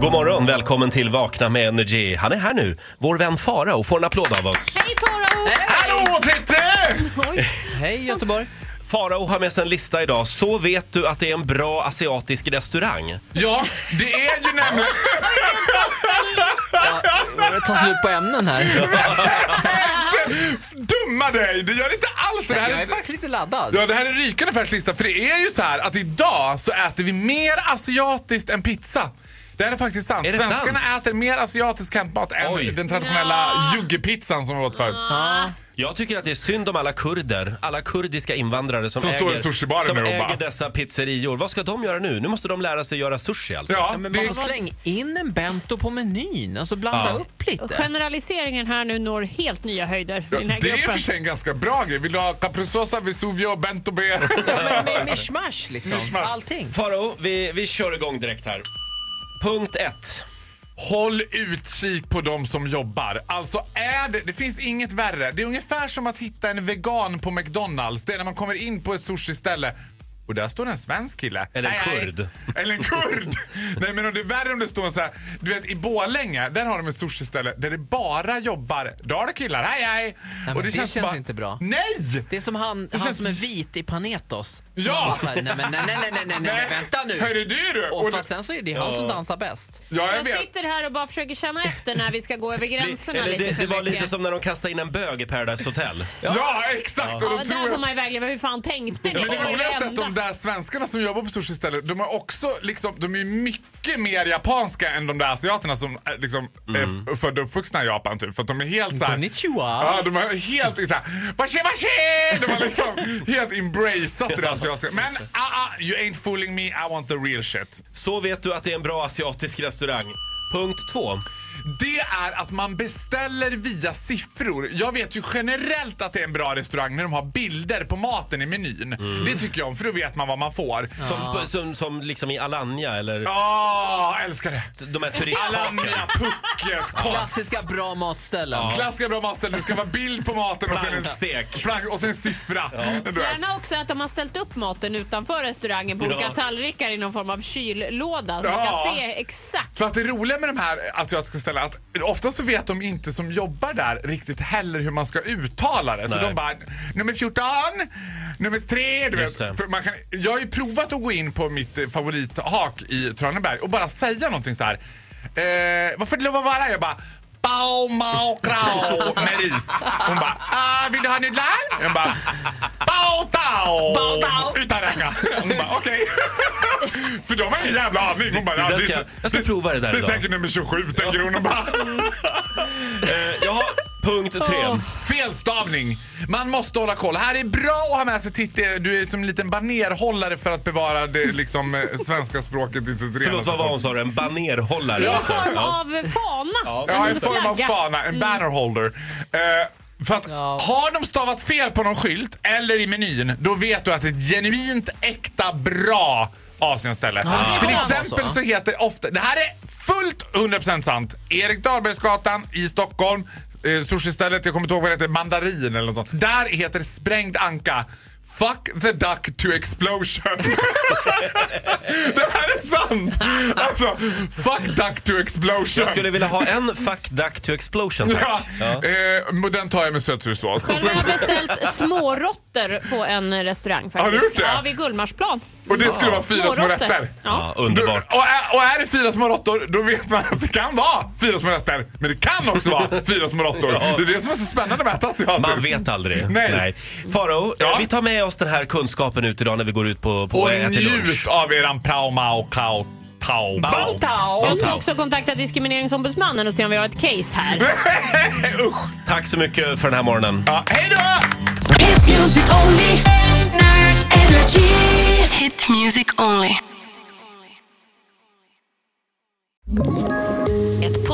God morgon, välkommen till Vakna med Energy. Han är här nu, vår vän Farao får en applåd av oss. Hej Farao! Hallå Titte! Oj, Hej Göteborg! Farao har med sig en lista idag. Så vet du att det är en bra asiatisk restaurang. Ja, det är ju nämligen... Det tar slut på ämnen här. Dumma dig! Det gör inte alls det. det. Här Jag är är... faktiskt lite laddad. Ja, det här är en rykande färsk lista. För det är ju så här att idag så äter vi mer asiatiskt än pizza. Det här är faktiskt sant. Är det Svenskarna äter mer asiatisk hämtmat än Oj. den traditionella juggepizzan som vi åt förut. Jag tycker att det är synd om alla kurder, alla kurdiska invandrare som, Som äger, står i sushibaren som nu och äger bara- dessa pizzerior. Vad ska de göra nu? Nu måste de lära sig göra sushi alltså. Ja, Ja, men det bara är... släng in en bento på menyn, alltså blanda Ja. upp lite. generaliseringen här nu når helt nya höjder i den här Det är i och gruppen. för sig en ganska bra grej. Vill du ha capricciosa, vesuvio, bento bear? Ja, men med mishmash liksom, Mishmash. allting. Farao, vi, vi kör igång direkt här. Punkt ett. Håll utkik på de som jobbar. Alltså är det, det finns inget värre. Det är ungefär som att hitta en vegan på McDonalds. Det är när man kommer in på ett sushiställe och där står det en svensk kille. Eller en Nej, kurd. Nej. Eller en kurd! nej men om det är värre om det står en så här. Du vet i Borlänge, där har de ett sushiställe där det bara jobbar dalakillar. Hej hej! men det känns inte bra. Nej! Det är som han, han känns- som är vit i Panetos. Ja! Han bara så här, Nej, men nej, nej, nej, nej, nej, nej, vänta nu. Hörru du du! Och det- fast sen så är det han som dansar bäst. ja, jag Jag vet. sitter här och bara försöker känna efter när vi ska gå över gränserna Eller lite det, för det var mycket. lite som när de kastade in en bög i Paradise Hotel. Ja, exakt! Och Ja, då där tror jag får att- man ju vägleva. Hur fan tänkte ni? Men Vad det var roligaste är att de enda? där svenskarna som jobbar på sushiställen, de är också liksom, de är mycket mer japanska än de där asiaterna som är, liksom, är f- födda och uppvuxna i Japan typ. För att de är helt såhär... Konnichiwa! Ja, de är helt såhär... Washi washi! De har liksom helt embraceat det där asiatiska. Men ah, ah, you ain't fooling me, I want the real shit. Så vet du att det är en bra asiatisk restaurang. Punkt två. Det är att man beställer via siffror. Jag vet ju generellt att det är en bra restaurang när de har bilder på maten i menyn. Det tycker jag om, för då vet man vad man får. Som, som, som liksom i Alanya eller Ja, älskar det! de här turistkakorna. Alanya, pucket, kost. Klassiska bra matställen. Klassiska bra matställen. Det ska vara bild på maten och sen en Plankstek. Plank och sen siffra. Du vet. Gärna också att de har ställt upp maten utanför restaurangen på Ja. olika tallrikar i någon form av kyllåda. Så man Ja. kan se exakt. För att det roliga med de här asiatiska ställena att oftast så vet de inte som jobbar där riktigt heller hur man ska uttala det. Så Nej. de bara nummer 14, nummer 3, du vet. Just det. För man kan, jag har ju provat att gå in på mitt eh, favorithak i Traneberg och bara säga någonting så här. Eh, varför det var vara? Jag bara Bao mao krao med ris. Hon bara, ah, vill du ha nudlar? Jag bara, bao tao. Bao tao. Utan räka. Hon bara, okej. För de har ingen jävla aning. Hon bara, Det ja, där det är ska- så- jag ska prova det där Det är idag. säkert nummer 27, tänker hon och bara. Eh, jaha, punkt tre. Åh. Felstavning! Man måste hålla koll. Här är bra att ha med sig Titti. Du är som en liten banerhållare för att bevara det liksom, eh, svenska språket i sitt Förlåt, vad var hon sa du? En banerhållare? En alltså. form Ja. av fana. Ja, en form av flagga. fana. En bannerholder. Eh, för att Mm. Ja. har de stavat fel på någon skylt eller i menyn, då vet du att det är ett genuint, äkta, bra Asienställe. det ska Till vara så, exempel så va? heter ofta, det här är fullt 100% sant, Erik Dahlbergsgatan i Stockholm, eh, sushistället, jag kommer inte ihåg vad det heter, Mandarin eller något sånt. Där heter sprängd anka Fuck the duck to explosion. det här är sant! Alltså, fuck duck to explosion. Jag skulle vilja ha en fuck duck to explosion Ja. tack. Ja. Eh, men den tar jag med sötsursås. Och, Själv har sen- jag beställt småråttor på en restaurang. Faktiskt. Har du gjort det? Ja, vid Gullmarsplan. och det skulle vara fyra små rätter. Ja. Ja, Du, och, underbart. är, och är det fyra små råttor, då vet man att det kan vara fyra små rätter. Men det kan också vara fyra små råttor. Ja. Det är det som är så spännande med att äta asiatiskt. Man vet aldrig. Nej. Faro, eh, Ja. vi tar med oss den här kunskapen ut idag när vi går ut på, på Och och äter njut lunch. av eran prao mao kao tao bao. Jag ska också kontakta Diskrimineringsombudsmannen och se om vi har ett case här. Usch. Tack så mycket för den här morgonen. Ja, hej då! Hit music only. Energy. Hit music only. Ett